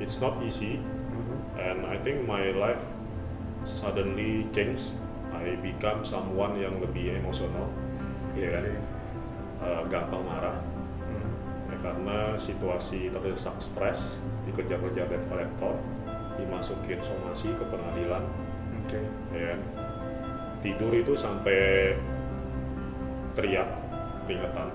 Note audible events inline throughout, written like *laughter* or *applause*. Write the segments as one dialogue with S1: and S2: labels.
S1: it's not easy and I think my life suddenly changed I become someone yang lebih emosional
S2: Iya
S1: ya kan Eh, gampang marah Ya, karena situasi terdesak stres dikejar-kejar debt collector dimasukin somasi ke pengadilan
S2: Oke.
S1: ya kan? tidur itu sampai teriak keringetan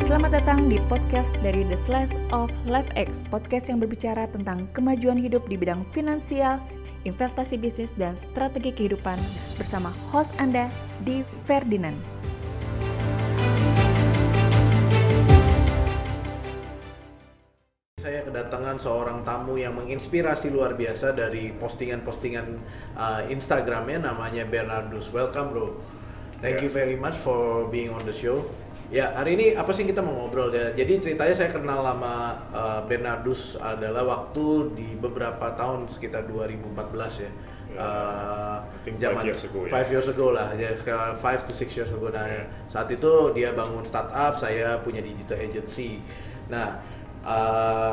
S3: Selamat datang di podcast dari The Slice of Life X, podcast yang berbicara tentang kemajuan hidup di bidang finansial, investasi bisnis, dan strategi kehidupan bersama host Anda, di Ferdinand.
S2: Saya kedatangan seorang tamu yang menginspirasi luar biasa dari postingan-postingan uh, Instagramnya namanya Bernardus. Welcome bro. Thank you very much for being on the show. Ya hari ini apa sih kita mau ngobrol ya? Jadi ceritanya saya kenal lama uh, Bernardus adalah waktu di beberapa tahun sekitar 2014 ya.
S1: Ya.
S2: Uh,
S1: I think five years ago ya.
S2: five years ago lah, ya sekarang five to six years ago. Nah,
S1: Yeah.
S2: saat itu dia bangun startup, saya punya digital agency. Nah, eh,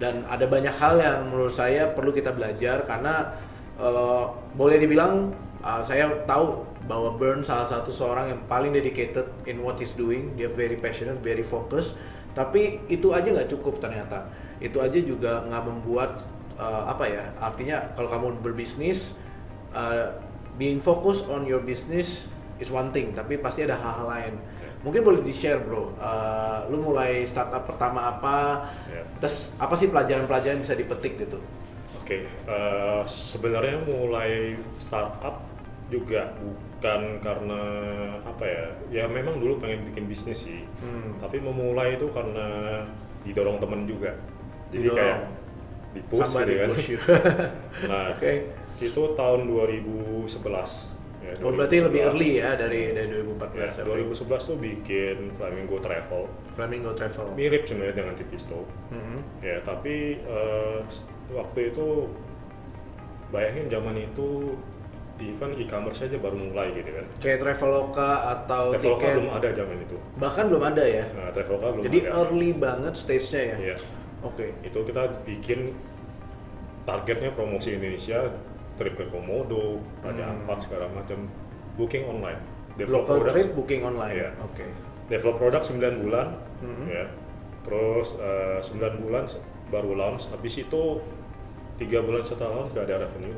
S2: dan ada banyak hal yang menurut saya perlu kita belajar karena eh, boleh dibilang eh, saya tahu bahwa Burn salah satu seorang yang paling dedicated in what he's doing. Dia very passionate, very focused. Tapi itu aja nggak cukup ternyata. Itu aja juga nggak membuat eh, apa ya? Artinya kalau kamu berbisnis uh, being focused on your business is one thing, tapi pasti ada hal-hal lain. Mungkin boleh di-share, bro. Uh, lu mulai startup pertama apa?
S1: Ya.
S2: Terus apa sih pelajaran-pelajaran yang bisa dipetik gitu?
S1: Oke, eh, sebenarnya mulai startup juga bukan karena apa ya? Ya memang dulu pengen bikin bisnis sih,
S2: Hmm.
S1: tapi memulai itu karena didorong temen juga. Jadi
S2: Didorong.
S1: kayak di push gitu
S2: Somebody
S1: kan.
S2: push
S1: *laughs*
S2: you.
S1: Nah,
S2: Oke.
S1: itu tahun 2011. Ya,
S2: Oh, berarti lebih
S1: 2011.
S2: early ya dari dari
S1: Ya,
S2: 2014 ya, bro.
S1: 2011 tuh bikin Flamingo Travel,
S2: Flamingo Travel.
S1: mirip sebenarnya dengan Tivisto.
S2: Mhm.
S1: Ya, tapi eh, s- waktu itu bayangin zaman itu even e-commerce aja baru mulai gitu kan.
S2: Kayak Traveloka atau
S1: Traveloka
S2: Oh, tiket.
S1: belum ada zaman itu.
S2: Bahkan belum ada ya.
S1: Nah, Traveloka belum
S2: Jadi
S1: ada.
S2: early banget stage-nya ya.
S1: Iya.
S2: Oke.
S1: Itu kita bikin targetnya promosi Indonesia, trip ke Komodo, Raja
S2: Hmm.
S1: Ampat segala macam, booking online.
S2: Local
S1: products-
S2: trip booking online.
S1: Iya.
S2: Oke.
S1: develop produk 9 bulan
S2: Mhm.
S1: ya terus eh, 9 bulan se- baru launch habis itu tiga bulan setelah launch gak ada revenue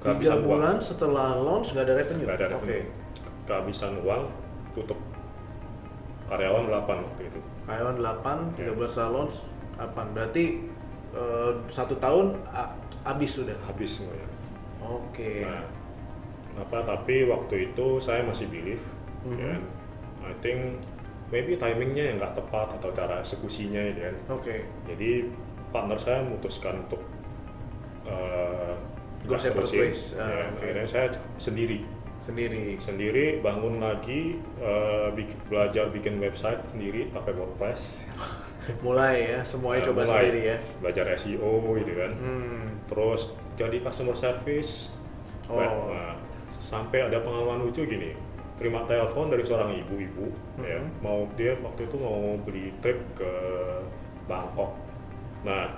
S2: Tiga
S1: uang.
S2: bulan setelah launch nggak ada revenue.
S1: Nggak ada
S2: Oke.
S1: revenue kehabisan uang tutup karyawan 8 waktu itu
S2: Karyawan 8,
S1: Ya.
S2: 13 salon, 8. Berarti eh, satu tahun a- habis sudah.
S1: habis semuanya
S2: Oke.
S1: nah apa tapi waktu itu saya masih believe
S2: Mhm.
S1: ya I think maybe timingnya yang nggak tepat atau cara eksekusinya ya kan
S2: Oke.
S1: Jadi partner saya memutuskan untuk eh,
S2: Go
S1: nggak
S2: separate
S1: terusin.
S2: ways. Ah,
S1: Ya,
S2: oke.
S1: Akhirnya saya sendiri,
S2: Sendiri.
S1: sendiri bangun lagi eh, bik- belajar bikin website sendiri pakai WordPress.
S2: Mulai ya, semuanya
S1: Eh,
S2: coba
S1: mulai
S2: sendiri ya.
S1: Belajar SEO gitu kan.
S2: Hmm.
S1: Terus jadi customer service.
S2: Oh.
S1: Nah, sampai ada pengalaman lucu gini. Terima telepon dari seorang ibu-ibu ya.
S2: Mhm.
S1: Mau dia waktu itu mau beli trip ke Bangkok. Nah,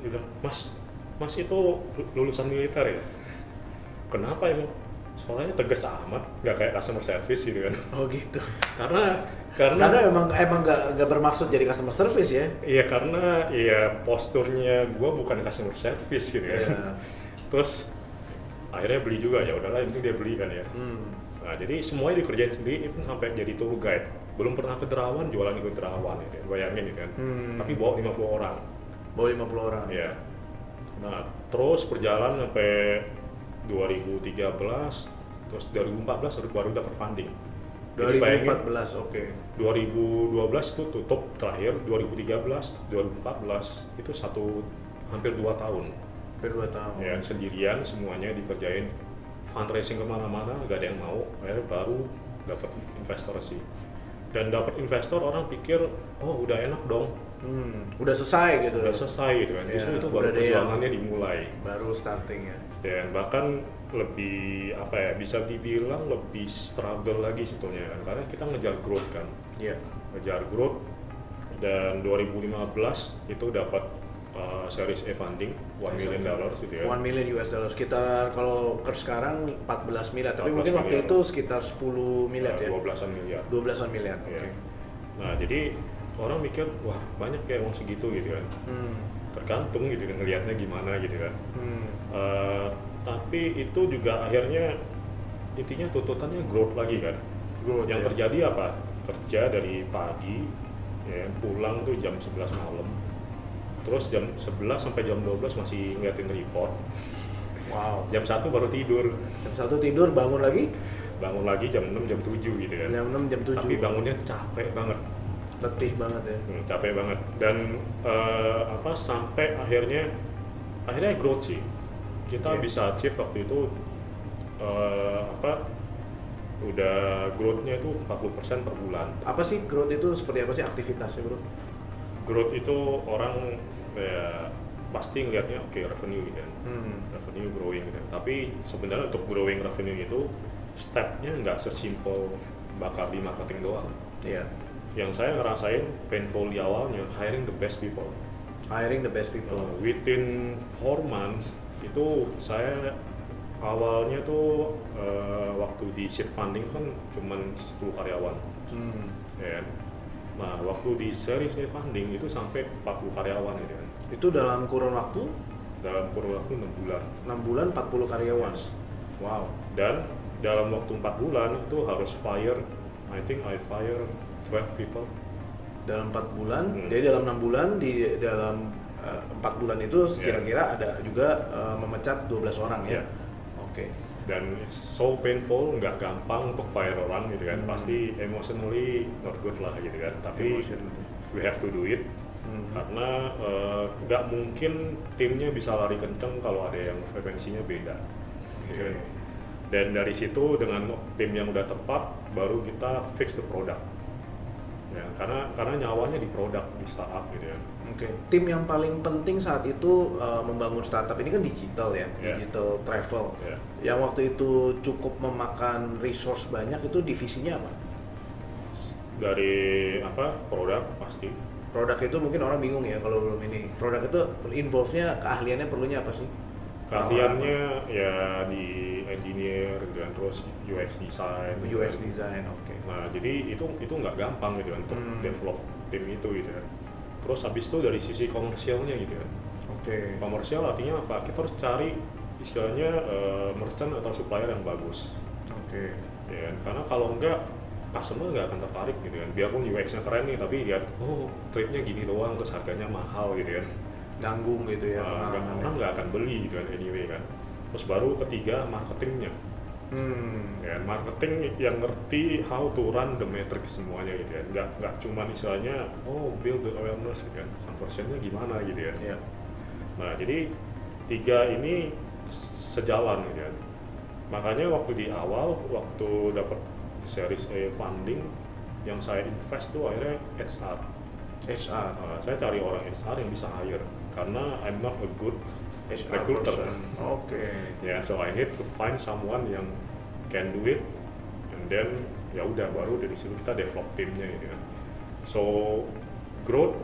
S1: dia bilang, "Mas, Mas itu lu- lulusan militer ya?" Kenapa emang? Soalnya tegas amat, nggak kayak customer service gitu kan. *laughs*
S2: Oh gitu.
S1: Karena karena
S2: Karena emang emang nggak nggak bermaksud jadi customer service ya.
S1: Iya karena ya posturnya gue bukan customer service gitu ya.
S2: Iya.
S1: Terus akhirnya beli juga ya udahlah ini dia beli kan ya.
S2: Hmm.
S1: Nah jadi semuanya dikerjain sendiri even sampai jadi tour guide. Belum pernah ke Derawan jualan ikut Derawan gitu ya. Bayangin gitu kan.
S2: Hmm.
S1: Tapi bawa 50 orang.
S2: Bawa 50 orang.
S1: Iya. Nah terus berjalan sampai 2013 terus 2014 baru dapat funding. Jadi bayangin,
S2: 2014, oke.
S1: 2012 itu tutup terakhir 2013 2014 itu satu hampir dua tahun
S2: Hampir 2 tahun.
S1: ya sendirian semuanya dikerjain fundraising kemana-mana gak ada yang mau akhirnya baru dapat investor sih dan dapat investor orang pikir oh udah enak dong
S2: Hmm. Udah selesai gitu.
S1: udah selesai gitu kan
S2: Ya,
S1: justru itu baru
S2: udah ada yang-
S1: perjuangannya dimulai
S2: Baru starting ya.
S1: dan bahkan lebih apa ya bisa dibilang lebih struggle lagi sebetulnya kan karena kita ngejar growth kan
S2: Iya.
S1: ngejar growth dan 2015 itu dapat uh, series A funding 1 million dollars gitu ya.
S2: 1 million US dollar sekitar kalau ke sekarang 14 miliar tapi
S1: 14
S2: mungkin waktu
S1: miliar.
S2: itu sekitar 10 miliar ya
S1: Uh, 12-an miliar.
S2: 12-an miliar oke
S1: Ya. Nah, jadi orang mikir, wah banyak ya uang segitu gitu kan.
S2: hmm.
S1: Tergantung gitu kan, ngelihatnya gimana gitu kan.
S2: Hmm.
S1: Eh, tapi itu juga akhirnya intinya tuntutannya growth lagi kan.
S2: Growth,
S1: Yang
S2: ya.
S1: terjadi apa? Kerja dari pagi, ya, pulang tuh jam 11 malam. Terus jam 11 sampai jam 12 masih ngeliatin report.
S2: wow
S1: Jam 1 baru tidur.
S2: jam satu tidur bangun lagi
S1: Bangun lagi jam 6, jam 7 gitu kan.
S2: jam 6 jam 7
S1: Tapi bangunnya capek banget.
S2: letih banget ya
S1: Hmm, capek banget dan eh, apa sampai akhirnya akhirnya growth sih kita
S2: Oke.
S1: bisa achieve waktu itu eh, apa udah growth-nya itu 40% per bulan
S2: apa sih growth itu seperti apa sih aktivitasnya bro
S1: growth itu orang ya, pasti ngelihatnya oke revenue gitu kan
S2: hmm.
S1: revenue growing gitu kan. tapi sebenarnya untuk growing revenue itu stepnya nggak sesimpel bakar di marketing doang
S2: iya
S1: yang saya ngerasain painful di awalnya hiring the best people
S2: hiring the best people
S1: Uh, within four months itu saya awalnya tuh uh, waktu di seed funding kan cuman 10 karyawan
S2: hmm.
S1: ya kan. Nah, waktu di series A funding itu sampai 40 karyawan gitu kan.
S2: itu dalam kurun waktu
S1: Dalam kurun waktu 6 bulan.
S2: 6 bulan 40 karyawan
S1: Yes.
S2: wow
S1: Dan dalam waktu 4 bulan itu harus fire I think I fire 12 people.
S2: dalam 4 bulan
S1: Hmm.
S2: jadi dalam 6 bulan di dalam eh, empat 4 bulan
S1: Ya.
S2: itu kira-kira ada juga eh, memecat 12 orang ya
S1: Iya.
S2: oke
S1: Dan it's so painful, nggak gampang untuk fire orang gitu kan.
S2: Hmm.
S1: Pasti emotionally not good lah gitu kan. Tapi
S2: Emotionally.
S1: we have to do it
S2: Hmm.
S1: karena eh, nggak mungkin timnya bisa lari kenceng kalau ada yang frekuensinya beda. Gitu kan.
S2: Oke.
S1: Dan dari situ dengan tim yang udah tepat baru kita fix the product. Ya, karena karena nyawanya di produk di startup gitu ya.
S2: Oke, tim yang paling penting saat itu eh, membangun startup ini kan digital ya,
S1: Iya.
S2: digital travel.
S1: Iya.
S2: Yang waktu itu cukup memakan resource banyak itu divisinya apa?
S1: Dari apa produk pasti
S2: Produk itu mungkin orang bingung ya kalau belum ini. Produk itu involve-nya keahliannya perlunya apa sih?
S1: keahliannya ya di engineer gitu kan terus UX design. gitu
S2: UX
S1: kan.
S2: design, oke.
S1: Nah, jadi itu itu nggak gampang gitu kan untuk
S2: Hmm.
S1: develop tim itu gitu kan. Terus habis itu dari sisi komersialnya gitu kan.
S2: Oke.
S1: Komersial artinya apa? Kita harus cari istilahnya eh, merchant atau supplier yang bagus.
S2: Oke.
S1: Ya kan? Karena kalau enggak customer nggak akan tertarik gitu kan. Biarpun UX-nya keren nih tapi lihat oh triknya gini doang terus harganya mahal gitu kan.
S2: Nanggung gitu ya
S1: Nah, nggak-
S2: pengalamannya.
S1: orang nggak akan beli gitu kan anyway kan. Terus baru ketiga marketingnya.
S2: Hmm.
S1: Ya, marketing yang ngerti how to run the matrix semuanya gitu ya. Nggak, nggak cuman istilahnya, oh build the awareness gitu kan. Conversionnya gimana gitu ya.
S2: Iya.
S1: Nah, jadi tiga ini sejalan gitu kan. Makanya waktu di awal, waktu dapat series A funding, yang saya invest tuh akhirnya HR.
S2: HR.
S1: Nah, saya cari orang HR yang bisa hire. Karena I'm not a good
S2: HR
S1: recruiter.
S2: person. Oke.
S1: Ya, so I need to find someone yang can do it, and then ya udah baru dari situ kita develop timnya gitu kan. So growth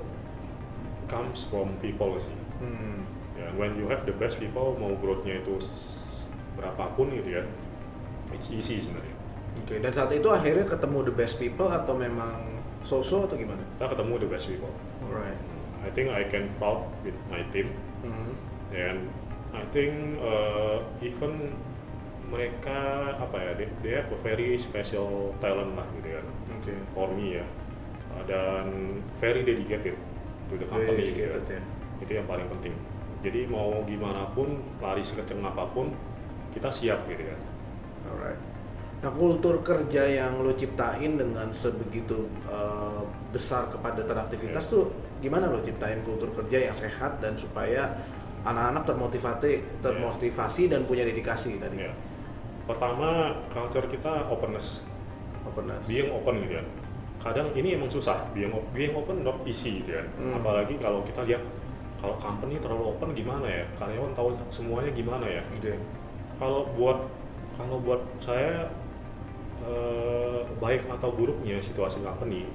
S1: comes from people sih.
S2: Hmm.
S1: Ya, when you have the best people, mau growth-nya itu s- berapapun gitu ya, it's easy sebenarnya.
S2: Oke, dan saat itu akhirnya ketemu the best people atau memang so-so atau gimana?
S1: Kita ketemu the best people.
S2: Alright.
S1: I think I can proud with my team,
S2: Hmm.
S1: and I think uh, even mereka apa ya, they, they have a very special talent lah gitu kan.
S2: Oke.
S1: for me ya Uh, dan very dedicated to the
S2: Very
S1: company gitu
S2: dedicated, ya.
S1: itu yang paling penting jadi mau gimana pun lari sekecil apapun kita siap gitu kan
S2: Alright. Nah, kultur kerja yang lo ciptain dengan sebegitu eh, besar kepadatan aktivitas
S1: Iya.
S2: tuh gimana lo ciptain kultur kerja yang sehat dan supaya anak-anak termotivasi termotivasi dan punya dedikasi tadi.
S1: ya pertama culture kita openness
S2: Openness.
S1: being open gitu kan kadang ini emang susah being, op- being open not easy gitu kan
S2: Hmm.
S1: apalagi kalau kita lihat kalau company terlalu open gimana ya karyawan tahu semuanya gimana ya
S2: Oke.
S1: kalau buat kalau buat saya eh, baik atau buruknya situasi company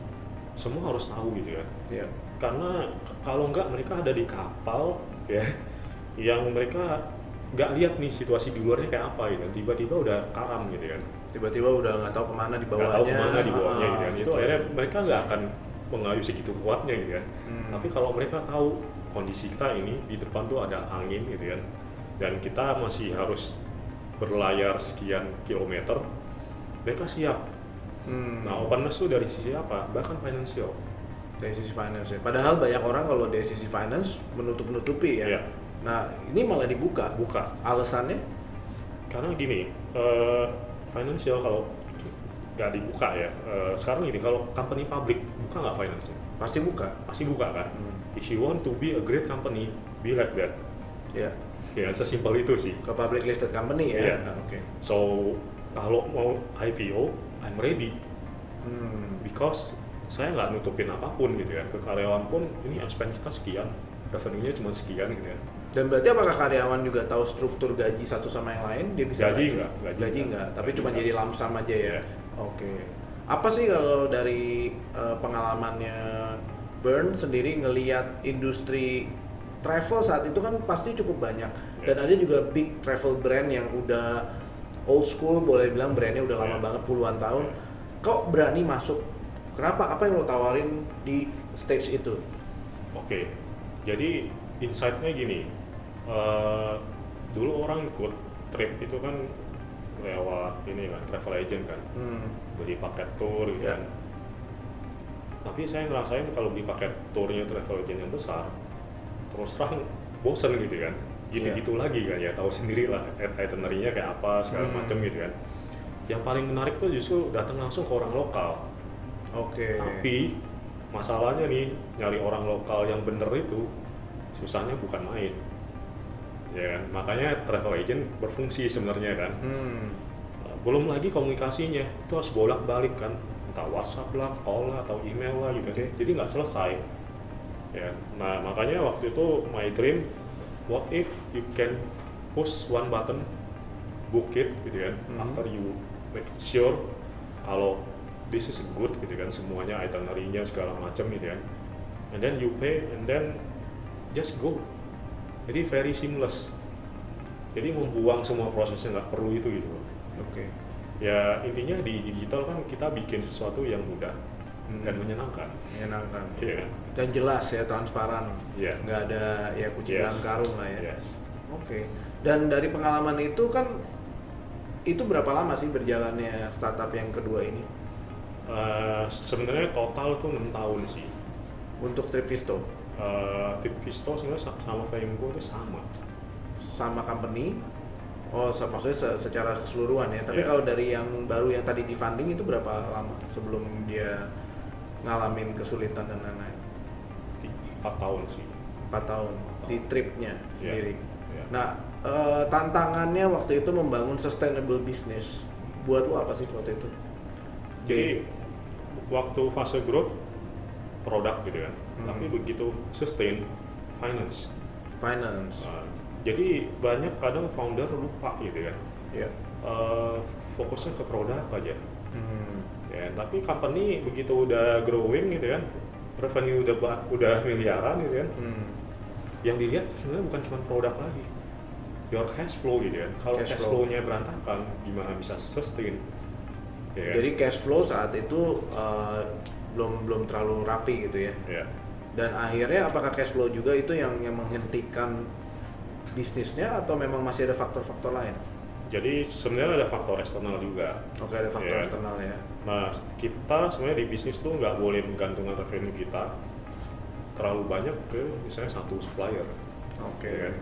S1: semua harus tahu gitu kan
S2: Iya.
S1: karena k- kalau nggak mereka ada di kapal ya yang mereka nggak lihat nih situasi di luarnya kayak apa gitu tiba-tiba udah karam gitu kan
S2: Tiba-tiba udah nggak tahu kemana di
S1: nggak
S2: bawahnya.
S1: tahu kemana di bawahnya
S2: ah,
S1: gitu kan itu
S2: situasi.
S1: akhirnya mereka nggak akan mengayuh segitu kuatnya gitu kan
S2: Hmm.
S1: tapi kalau mereka tahu kondisi kita ini di depan tuh ada angin gitu kan dan kita masih harus berlayar sekian kilometer mereka siap
S2: Hmm.
S1: nah openness tuh dari sisi apa bahkan finansial
S2: dari sisi finance ya. Padahal banyak orang kalau dari sisi finance menutup-nutupi ya.
S1: Iya.
S2: Nah, ini malah dibuka.
S1: buka
S2: Alasannya?
S1: karena gini eh financial kalau nggak dibuka ya eh, sekarang gini kalau company public buka nggak finance-nya
S2: Pasti buka.
S1: pasti buka kan
S2: Hmm.
S1: if you want to be a great company be like that
S2: Ya,
S1: ya sesimpel itu sih
S2: ke public listed company ya.
S1: Iya.
S2: Ah, Oke.
S1: so kalau mau IPO I'm ready
S2: Hmm.
S1: because saya nggak nutupin apapun gitu ya ke karyawan pun ini expense kita sekian revenue-nya cuma sekian gitu ya
S2: Dan berarti apakah karyawan juga tahu struktur gaji satu sama yang lain? Dia bisa
S1: Gaji nggak,
S2: Gaji,
S1: gaji nggak.
S2: nggak, tapi
S1: Gaji
S2: cuma
S1: nggak.
S2: jadi lamsam aja ya.
S1: Iya.
S2: Oke. Apa sih kalau dari eh, pengalamannya Burn sendiri ngeliat industri travel saat itu kan pasti cukup banyak dan
S1: Iya.
S2: ada juga big travel brand yang udah old school boleh bilang brandnya udah lama
S1: Iya.
S2: banget puluhan tahun. Kok berani masuk? Kenapa? Apa yang lo tawarin di stage itu?
S1: Oke, jadi insight-nya gini, eh, dulu orang ikut trip itu kan lewat ini kan travel agent kan,
S2: Hmm.
S1: beli paket tour gitu
S2: Ya.
S1: kan. Tapi saya ngerasain kalau beli paket tournya travel agent yang besar, terus terang bosen gitu kan, gitu-gitu lagi kan ya, tahu sendiri lah it- itinerary-nya kayak apa segala
S2: Hmm.
S1: macam gitu kan. Yang paling menarik tuh justru datang langsung ke orang lokal.
S2: Oke.
S1: Tapi masalahnya nih nyari orang lokal yang bener itu susahnya bukan main. Ya kan? Makanya travel agent berfungsi sebenarnya kan.
S2: Hmm.
S1: Nah, Belum lagi komunikasinya itu harus bolak-balik kan. Entah WhatsApp lah, call lah, atau email lah gitu.
S2: Oke.
S1: Jadi nggak selesai. Ya. Nah, makanya waktu itu my dream what if you can push one button book it gitu kan
S2: Mhm.
S1: after you make sure kalau this is good gitu kan semuanya itinerary-nya segala macam gitu kan and then you pay and then just go jadi very seamless jadi membuang semua prosesnya nggak perlu itu gitu loh
S2: Oke.
S1: ya intinya di digital kan kita bikin sesuatu yang mudah dan
S2: Mhm.
S1: menyenangkan
S2: Menyenangkan.
S1: iya kan
S2: dan jelas ya transparan
S1: Iya.
S2: nggak ada ya kucing
S1: Yes.
S2: dalam karung lah ya
S1: yes
S2: oke dan dari pengalaman itu kan itu berapa lama sih berjalannya startup yang kedua ini
S1: Eh, sebenarnya total tuh 6 tahun sih
S2: untuk Trip Visto
S1: Eh, Tim Visto sebenarnya sa- sama Flamingo itu sama.
S2: sama company oh se- maksudnya se- secara keseluruhan ya tapi
S1: Iya.
S2: kalau dari yang baru yang tadi di funding itu berapa lama sebelum dia ngalamin kesulitan dan lain-lain
S1: 4 tahun sih.
S2: 4 tahun di tripnya
S1: Iya.
S2: sendiri.
S1: Iya.
S2: Nah, eh, tantangannya waktu itu membangun sustainable business. Buat lo apa sih waktu itu?
S1: Jadi waktu fase growth produk gitu kan.
S2: Hmm.
S1: Tapi begitu sustain finance.
S2: finance.
S1: Nah, jadi banyak kadang founder lupa gitu kan.
S2: Ya.
S1: Eh, fokusnya ke produk aja.
S2: Hmm.
S1: Ya, tapi company begitu udah growing gitu kan, revenue udah ba- udah miliaran gitu kan.
S2: Hmm.
S1: yang dilihat sebenarnya bukan cuma produk lagi your cash flow gitu kan kalau
S2: Cash
S1: cash,
S2: flow.
S1: flow-nya berantakan gimana bisa sustain ya kan?
S2: Jadi cash flow saat itu eh, belum belum terlalu rapi gitu ya.
S1: ya
S2: Dan akhirnya apakah cash flow juga itu yang yang menghentikan bisnisnya atau memang masih ada faktor-faktor lain?
S1: jadi sebenarnya ada faktor eksternal juga
S2: Oke, ada faktor
S1: Iya.
S2: eksternal ya.
S1: nah kita sebenarnya di bisnis tuh nggak boleh menggantungkan revenue kita terlalu banyak ke misalnya satu supplier
S2: Oke.
S1: ya kan?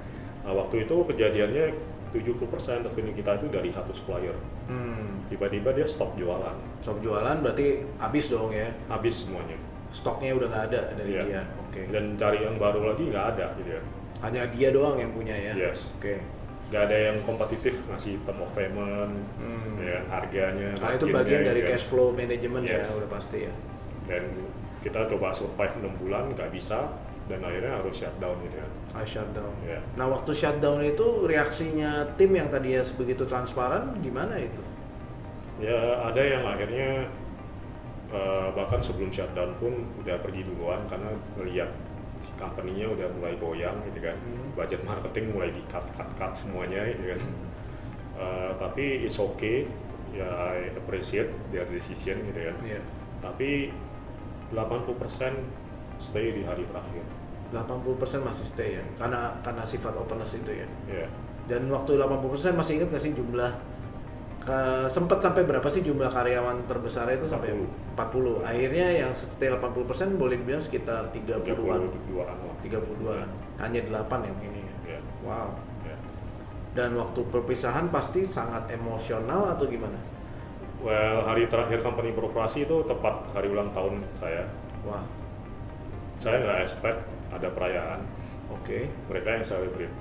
S1: nah waktu itu kejadiannya 70% revenue kita itu dari satu supplier
S2: Hmm.
S1: tiba-tiba dia stop jualan
S2: Shop jualan berarti habis dong ya.
S1: habis semuanya
S2: stoknya udah nggak ada dari
S1: Iya.
S2: dia. Oke.
S1: dan cari yang baru lagi nggak ada gitu ya
S2: Hanya dia doang yang punya ya.
S1: Yes.
S2: Oke.
S1: nggak ada yang kompetitif ngasih term of payment
S2: Hmm.
S1: ya harganya
S2: Karena Ah, itu
S1: marginnya,
S2: bagian dari
S1: gitu kan.
S2: cash flow management
S1: Yes.
S2: ya udah pasti ya.
S1: dan kita coba survive 6 bulan nggak bisa dan akhirnya harus shutdown gitu kan
S2: I shutdown.
S1: Iya.
S2: Nah waktu shutdown itu reaksinya tim yang tadi ya sebegitu transparan gimana itu?
S1: ya ada yang akhirnya eh, bahkan sebelum shutdown pun udah pergi duluan karena melihat company-nya udah mulai goyang gitu kan
S4: Hmm.
S1: budget marketing mulai di cut cut cut semuanya gitu kan Eh, tapi it's okay ya I appreciate their decision gitu kan
S4: Iya.
S1: tapi 80% stay di hari terakhir
S4: 80% masih stay ya, karena karena sifat openness itu ya.
S1: ya
S4: Dan waktu 80% masih ingat nggak sih jumlah ke, sempat sampai berapa sih jumlah karyawan terbesarnya itu sampai 40. Akhirnya yang stay 80% boleh dibilang sekitar 30-an,
S1: 32-an lah
S4: 32-an. Hanya 8 yang ini ya.
S1: ya,
S4: Wow.
S1: ya.
S4: Dan waktu perpisahan pasti sangat emosional atau gimana?
S1: Well, hari terakhir company beroperasi itu tepat hari ulang tahun saya.
S4: Wah,
S1: Saya nggak expect ada perayaan.
S4: oke.
S1: Mereka yang celebrate.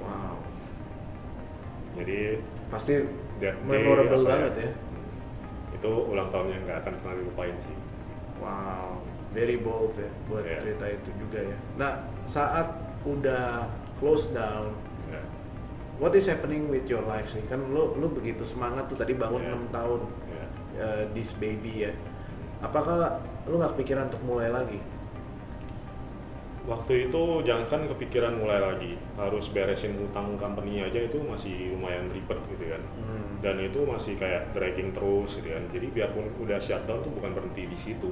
S4: Wow.
S1: Jadi
S4: Pasti
S1: that day,
S4: memorable
S1: apa
S4: banget ya.
S1: Itu ulang tahunnya nggak akan pernah dilupain sih.
S4: Wow, very bold ya buat
S1: Iya.
S4: cerita itu juga ya. Nah, saat udah close down,
S1: Ya.
S4: what is happening with your life sih? Kan lu lu begitu semangat tuh tadi bangun
S1: Iya.
S4: enam tahun
S1: ya.
S4: eh, this baby ya. Apakah lu nggak kepikiran untuk mulai lagi?
S1: Waktu itu jangankan kepikiran mulai lagi, harus beresin hutang company aja itu masih lumayan ribet gitu kan.
S4: Hmm.
S1: Dan itu masih kayak dragging terus gitu kan. Jadi biarpun udah shutdown tuh bukan berhenti di situ.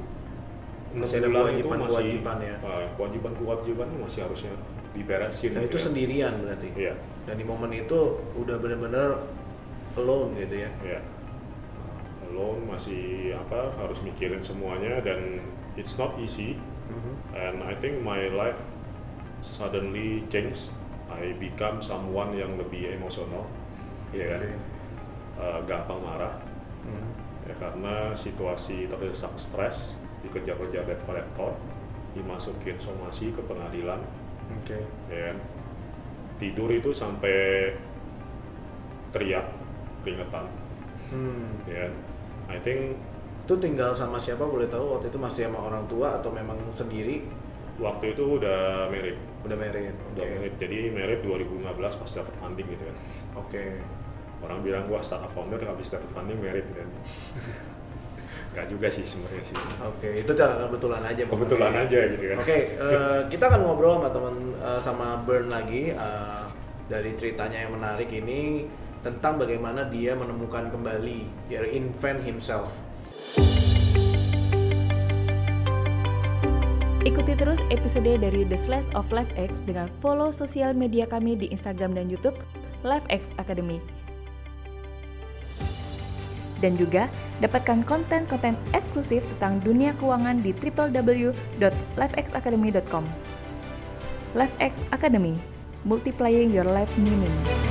S1: Enam
S4: Masih ada
S1: bulan itu
S4: kewajiban-kewajiban ya.
S1: eh, kewajiban-kewajiban masih harusnya diberesin.
S4: Nah,
S1: gitu
S4: itu
S1: kan.
S4: sendirian berarti.
S1: Iya,
S4: Dan di momen itu udah bener-bener alone gitu ya.
S1: iya. Lo masih apa harus mikirin semuanya dan it's not easy.
S4: Mhm.
S1: And I think my life suddenly changed. I become someone yang lebih emosional, ya kan?
S4: Oke.
S1: Eh, gampang marah,
S4: Mhm.
S1: ya karena situasi terdesak stres dikejar-kejar debt collector, dimasukin somasi ke pengadilan,
S4: Oke.
S1: ya kan? Tidur itu sampai teriak keringetan,
S4: Hmm.
S1: ya kan? I think
S4: Itu tinggal sama siapa boleh tahu waktu itu masih sama orang tua atau memang sendiri
S1: waktu itu udah married,
S4: udah married?
S1: udah married. Jadi married 2015 pas dapat funding gitu kan.
S4: Oke.
S1: orang bilang gua startup founder habis dapat funding merit kan nggak juga sih sebenarnya sih
S4: Oke, itu udah kebetulan aja. Bang.
S1: kebetulan aja gitu
S4: Oke,
S1: kan
S4: eh, kita akan ngobrol sama teman eh, sama Burn lagi eh, dari ceritanya yang menarik ini tentang bagaimana dia menemukan kembali dia invent himself.
S3: Ikuti terus episode dari The Slash of LifeX dengan follow sosial media kami di Instagram dan YouTube LifeX Academy. Dan juga dapatkan konten-konten eksklusif tentang dunia keuangan di www.lifexacademy.com. LifeX Academy, multiplying your life meaning.